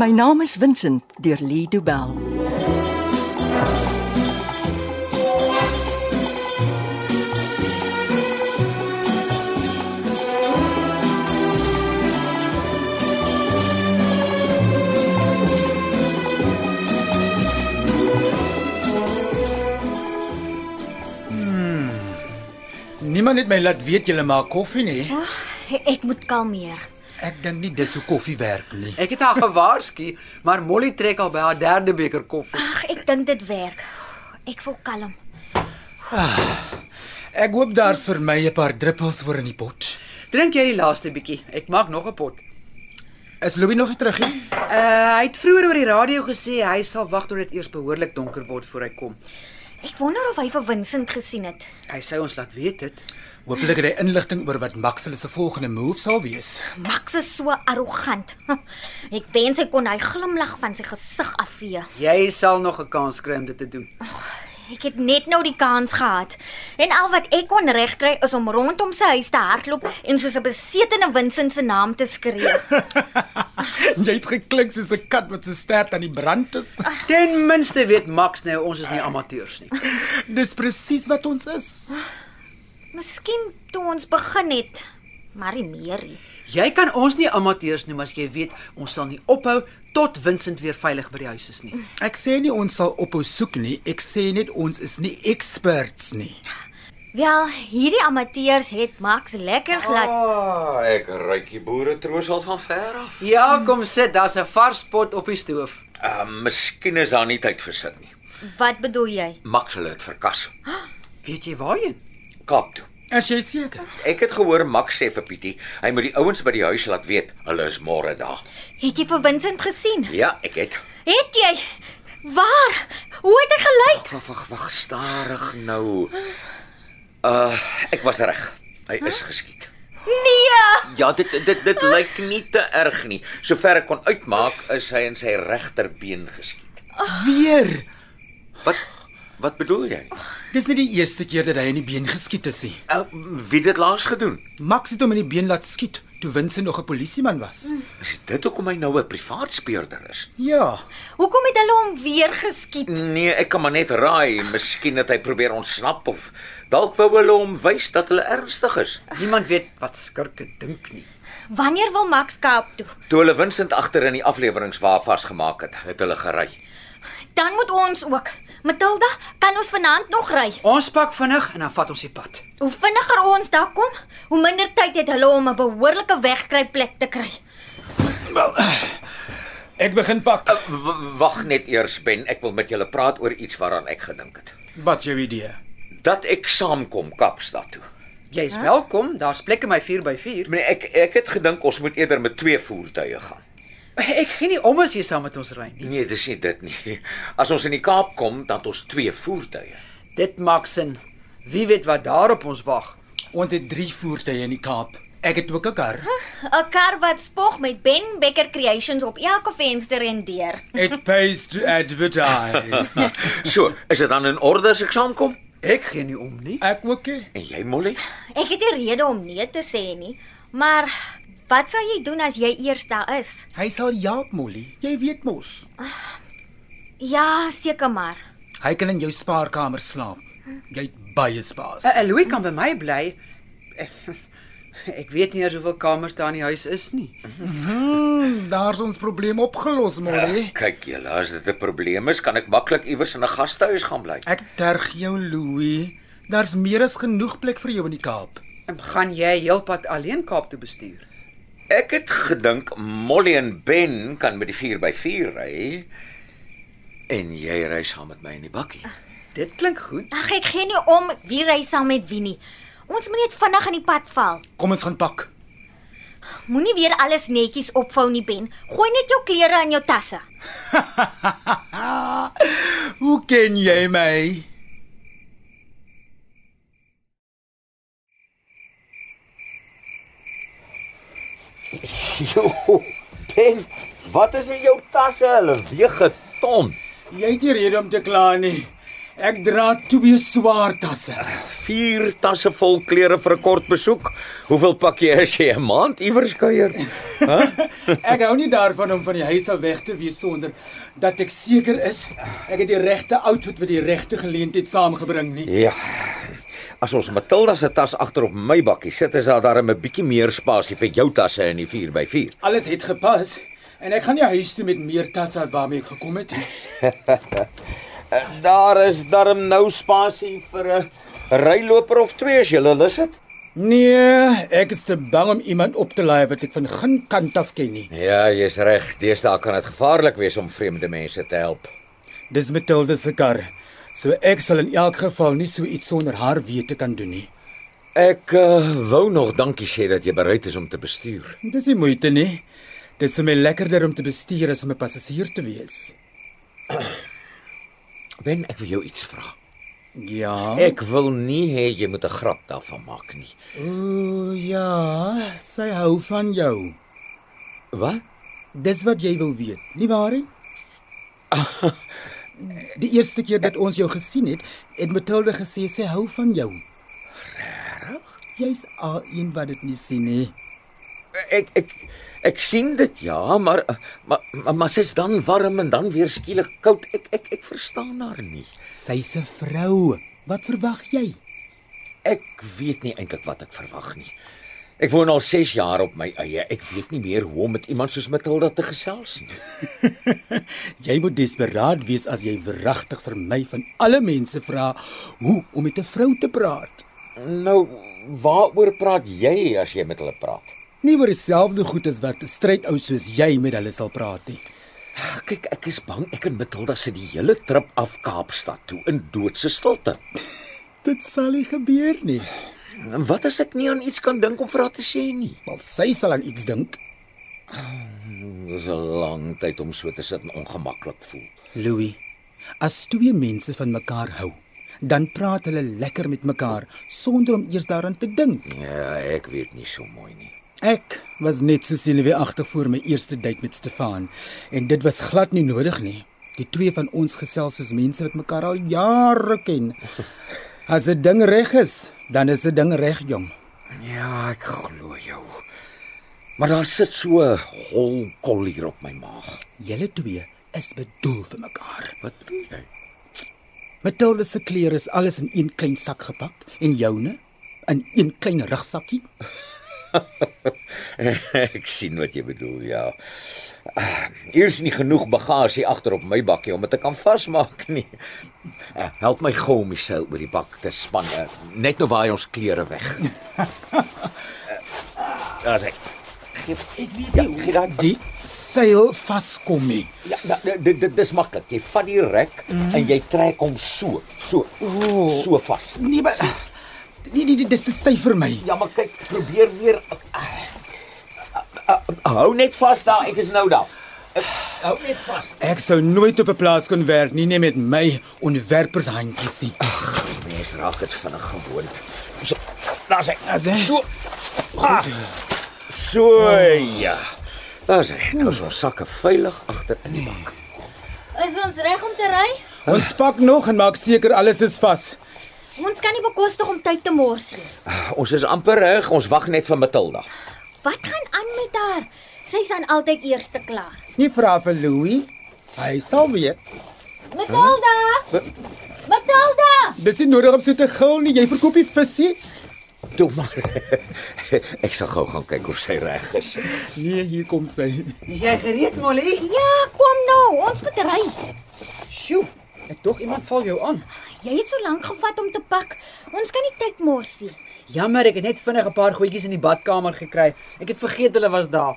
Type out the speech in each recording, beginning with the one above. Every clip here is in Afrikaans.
My naam is Vincent deur Lee Du Bell. Niemand het my laat weet jy maak koffie nie. Ek moet kalmeer. Ek dink nie dis hoe koffie werk nie. Ek het haar gewaarsku, maar Molly trek al by haar derde beker koffie. Ag, ek dink dit werk. Ek voel kalm. Ek hoop daar's vir my 'n paar druppels oor in die pot. Drink jy die laaste bietjie? Ek maak nog 'n pot. Is Louis nog nie terug nie? Uh, hy het vroeër oor die radio gesê hy sal wag tot dit eers behoorlik donker word voor hy kom. Ek wonder of hy vir Vincent gesien het. Hy sê ons laat weet dit. Hooplik het hy inligting oor wat Max se volgende move sal wees. Max is so arrogant. Ek wens hy kon hy glimlag van sy gesig afvee. Jy sal nog 'n kans kry om dit te doen. Ek het net nou die kans gehad. En al wat ek kon regkry is om rondom sy huis te hardloop en soos 'n besetene Vincent se naam te skree. Jy het geklink soos 'n kat wat se stert aan die brand is. Ten minste weet Max nou ons is nie amateurs nie. Dis presies wat ons is. Miskien toe ons begin het, maar nie meer nie. Jy kan ons nie amateurs noem as jy weet ons sal nie ophou tot Vincent weer veilig by die huis is nie. Ek sê nie ons sal ophou soek nie. Ek sê net ons is nie experts nie. Wel, hierdie amateurs het Max lekker glad. Ah, ek ruik die boere troos al van ver af. Ja, kom sit, daar's 'n vars pot op die stoof. Uh, miskien is daar nie tyd vir sit nie. Wat bedoel jy? Max hulle het verkas. Weet jy waarheen? Kaap toe. As jy seker. Ek het gehoor Max sê vir Pietie, hy moet die ouens by die huis laat weet hulle is môre daar. Het jy vir Vincent gesien? Ja, ek het. Het jy? Waar? Hoe het hy gelyk? Wag, wag, wag, stadig nou. Uh, ek was reg. Hy is geskiet. Nee. Ja, dit dit dit lyk nie te erg nie. Sover ek kon uitmaak, is hy in sy regterbeen geskiet. Weer. Wat wat bedoel jy? Dis nie die eerste keer dat hy in die been geskiet is nie. Uh, wie het dit laas gedoen? Max het hom in die been laat skiet toe Vincent nog 'n polisieman was. Is dit hoekom hy nou 'n privaat speurder is? Ja. Hoekom het hulle hom weer geskiet? Nee, ek kan maar net raai, miskien het hy probeer ontsnap of dalk wou hulle hom wys dat hulle ernstig is. Niemand weet wat skurke dink nie. Wanneer wil Max Kaap toe? Toe hulle Vincent agter in die afleweringswa vasgemaak het, het hulle gery. Dan moet ons ook. Matilda, kan ons vanaand nog ry? Ons pak vinnig en dan vat ons die pad. Hoe vinniger ons daar kom, hoe minder tyd het hulle om 'n behoorlike wegkruipplek te kry. Ek begin pak. Uh, W- Wag net eers, Ben, ek wil met julle praat oor iets waaraan ek gedink het. Wat jou idee? Dat ek saamkom Kaapstad toe. Jy is welkom, daar's plek in my 4x4. Meneer, ek ek het gedink ons moet eerder met twee voertuie gaan. Ek gee nie om as jy saam met ons ry nie. Nee, dis nie dit nie. As ons in die Kaap kom, dan het ons twee voertuie. Dit maak sin. Wie weet wat daar op ons wag? Ons het 3 voertuie in die Kaap. Ek het ook 'n kar. 'n Kar wat spog met Ben Becker Creations op elke venster en deur. It pays to advertise. So, is dit dan in orde as ek saamkom? Ek gee nie om nie. Ek ook. hè? En jy, Molly? Ek het nie rede om nee te sê nie, maar wat sal jy doen as jy eers daar is? Hy sal jaap Molly. Jy weet mos. Ja, seker maar. Hy kan in jou spaarkamer slaap. Jy het baie spaas. Uh, Louis kan by my bly. Ek weet nie eers hoeveel kamers daar in die huis is nie. Hmm, Daar's ons probleem opgelos, Molly. Kyk julle, as dit 'n probleem is, kan ek maklik iewers in 'n gastehuis gaan bly. Ek terg jou, Louis. Daar's meer as genoeg plek vir jou in die Kaap. En gaan jy heelpad alleen Kaap toe bestuur? Ek het gedink Molly en Ben kan met die 4x4 ry en jy ry saam met my in die bakkie. Dit klink goed. Ag ek gee nie om wie ry saam met wie nie. Ons moet net vinnig in die pad val. Kom ons gaan pak. Moenie weer alles netjies opvou nie, Ben. Gooi net jou klere in jou tasse. Hoe ken jy my? Jo, Ben, wat is in jou tasse? Hulle weeg 'n ton. Jy het nie rede om te kla nie. Ek dra twee swaar tasse. Vier tasse vol klere vir 'n kort besoek. Hoeveel pak jy as jy 'n maand iewers kuier? Ek hou nie daarvan om van die huis af weg te wees sonder dat ek seker is ek het die regte outfit vir die regte geleentheid saamgebring nie. Ja. As ons Matilda se tas agter op my bakkie sit, is daar darem 'n bietjie meer spasie vir jou tasse in die 4x4. Alles het gepas en ek gaan nie huis toe met meer tasse as waarmee ek gekom het nie. Daar is darem nou spasie vir 'n ryloper of twee as jy lus het. Nee, ek is te bang om iemand op te laai wat ek van geen kant af ken nie. Ja, jy's reg. Deesdae kan dit gevaarlik wees om vreemde mense te help. Dis Matilda se kar. So ek sal in elk geval nie so iets sonder haar wete kan doen nie. Ek uh, wou nog dankie sê dat jy bereid is om te bestuur. Dis nie moeite nie. Dis vir my lekkerder om te bestuur as om 'n passasier te wees. Ben, ek wil jou iets vra. Ja. Ek wil nie hê jy moet 'n grap daarvan maak nie. O ja, sy hou van jou. Wat? Dis wat jy wil weet, nie waar nie? Die eerste keer dat ons jou gesien het, het Matilda gesê sy hou van jou. Regtig? Jy's al een wat dit nie sien nie. Ek ek ek sien dit ja, maar maar maar, maar sy's dan warm en dan weer skielik koud. Ek ek ek verstaan haar nie. Sy's 'n vrou. Wat verwag jy? Ek weet nie eintlik wat ek verwag nie. Ek woon al 6 jaar op my eie. Ek weet nie meer hoe om met iemand soos Matilda te gesels nie. Jy moet desperaat wees as jy wragtig vir my van alle mense vra hoe om met 'n vrou te praat. Nou, waaroor praat jy as jy met hulle praat? Nie oor dieselfde goed as wat 'n stryd ou soos jy met hulle sal praat nie. Ag, kyk, ek is bang ek en Matilda sit die hele trip af Kaapstad toe in doodse stilte. Dit sal nie gebeur nie. En wat as ek nie aan iets kan dink om vir haar te sê nie? Maar sy sal aan iets dink. Dis 'n lang tyd om so te sit en ongemaklik voel. Louis, as twee mense van mekaar hou, dan praat hulle lekker met mekaar sonder om eers daaraan te dink. Ja, ek weet nie so mooi nie. Ek was net so sielewagtig voor my eerste date met Stefan en dit was glad nie nodig nie. Die twee van ons gesels soos mense wat mekaar al jare ken. As 'n ding reg is, dan is 'n ding reg, jong. Ja, ek glo jou. Maar daar sit so 'n hol kol hier op my maag. Julle twee is bedoel vir mekaar. Wat bedoel jy? Matilda se klere is alles in een klein sak gepak en joune in een klein rugsakkie. ek sien wat jy bedoel, ja. Ah, Hier is nie genoeg bagasie agter op my bakkie om dit te kan vasmaak nie. Eh, Help my gou om die seil oor die bak te span. eh, Net nou waai ons klere weg. Ja, ek. Ek weet nie hoe dit Die seil vaskom nie. Ja, da- da- dit dit dis maklik. Jy vat die rek mm. en jy trek hom so, so, oh. so vas. Nee, maar nee, nee, nee, dis te styf vir my. Ja, maar kyk, probeer weer. ah, Hou net vas daar. Ek is nou daar. Ek- Hou net vas. Ek sou nooit op 'n plaas kon werk nie, nie met my ontwerpershandjies nie. Mens raak dit vinnig gewoond. So, daar's hy. Daar's hy. So. Ah, so ja. Daar's hy. Nou is ons sakke veilig agter in die bak. Is ons reg om te ry? Ons pak nog en maak seker alles is vas. Ons kan nie bekostig om tyd te mors nie. Ons is amper reg. Ons wag net vir Matilda. Wat gaan aan met haar? Sy staan altyd eerste klaar. Nie vra vir Louis. Hy sal weet. Matilda! Matilda! Dis nie nodig om so te gil nie. Jy verkoop die visie. Toe maar. Ek sal gou gaan kyk of sy reg is. Nee, hier kom sy. Is jy gereed, Molly? Ja, kom nou, ons moet ry. Sjoe, ek dog iemand val jou aan. Jy het so lank gevat om te pak. Ons kan nie tyd mors nie. Jammer, ek het net vinnig 'n paar goedjies in die badkamer gekry. Ek het vergeet hulle was daar.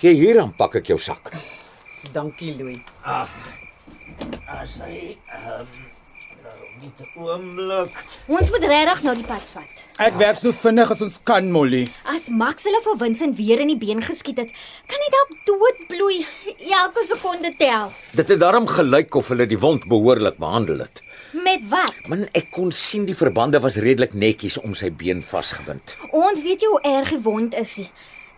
Gee hier dan pak ek jou sak. Dankie, Louis. As hy ehm nou net 'n oomblik. Ons moet regtig nou die pad vat. Ek werk so vinnig as ons kan, Molly. As Max hulle vir Vincent weer in die been geskiet het, kan hy dalk doodbloei. Elke sekonde tel. Dit het daarom gelyk of hulle die wond behoorlik behandel het. Met wat? Man, ek kon sien die verbande was redelik netjies om sy been vasgebind. Ons weet nie hoe erg die wond is nie.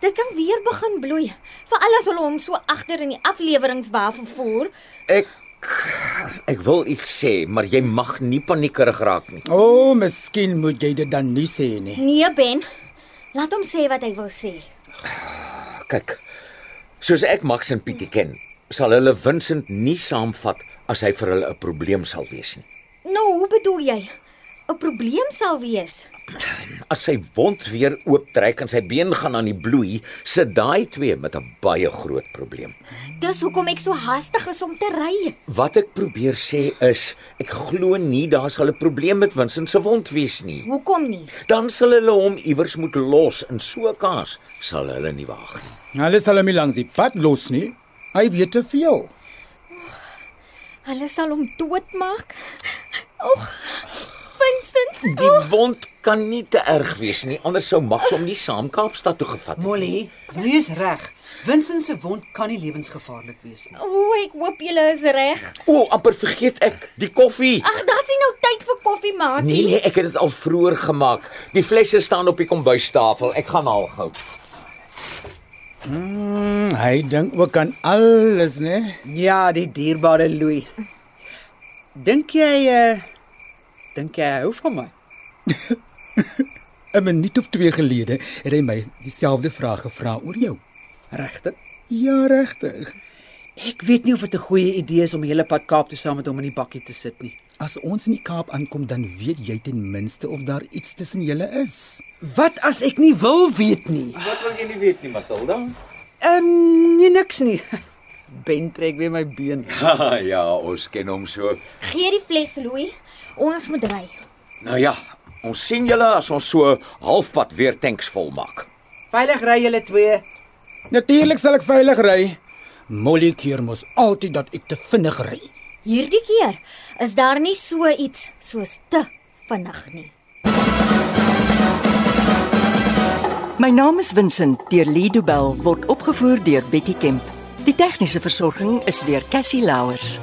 Dit kan weer begin bloei, veral as hulle hom so agter in die afleweringswa vervoer. Ek ek wil iets sê, maar jy mag nie paniekerig raak nie. O, oh, miskien moet jy dit dan nie sê nie. Nee, Ben. Laat hom sê wat hy wil sê. Kyk. Soos ek Max en Pietie ken, sal hulle Vincent nie saamvat as hy vir hulle 'n probleem sal wees nie. Nou, hoe bedoel jy? 'n Probleem sal wees. As sy wond weer ooptrek en sy been gaan aan die bloei, sit daai twee met 'n baie groot probleem. Dis hoekom ek so haastig is om te ry. Wat ek probeer sê is, ek glo nie daar sal 'n probleem met Vincent se wond wees nie. Hoekom nie? Dan sal hulle hom iewers moet los in so 'n kaas sal hulle nie waag nie. Hulle sal hom nie langs die pad los nie. Hy weet te veel. Hulle sal hom doodmaak. Oeg. Vincent. Die wond kan nie te erg wees nie, anders sou Max hom nie saam Kaapstad toe gevat het. Molly, jy is reg. Vincent se wond kan nie lewensgevaarlik wees nie. O, ek hoop julle is reg. O, amper vergeet ek die koffie. Ag, daar's nie nou tyd vir koffie, maatie. Nee nee, ek het dit al vroeër gemaak. Die flesse staan op die kombuistafel. Ek gaan haal gou. Hm, hy dink ook aan alles, né? Ja, die dierbare Louis. Dink jy eh dink jy hy hou van my? 'n Minuut of 2 gelede het hy my dieselfde vraag gevra oor jou. Regtig? Ja, regtig. Ek weet nie of dit 'n goeie idee is om die hele pad Kaap toe saam met hom in die bakkie te sit nie. As ons in die Kaap aankom, dan weet jy ten minste of daar iets tussen julle is. Wat as ek nie wil weet nie? Wat wil jy nie weet nie, Matilda? Ehm um, nee niks nie. Ben trek weer my been. ja, ons ken hom so. Gee die fles, Louis. Ons moet ry. Nou ja, ons sien julle as ons so halfpad weer tanks vol maak. Veilig ry julle twee. Natuurlik sal ek veilig ry. Molly keer mos altyd dat ek te vinnig ry. Hierdie keer is daar nie so iets soos te vinnig nie. My naam is Vincent deur Lido Bell word opgevoer deur Betty Kemp. Die tegniese versorging is deur Cassie Louers.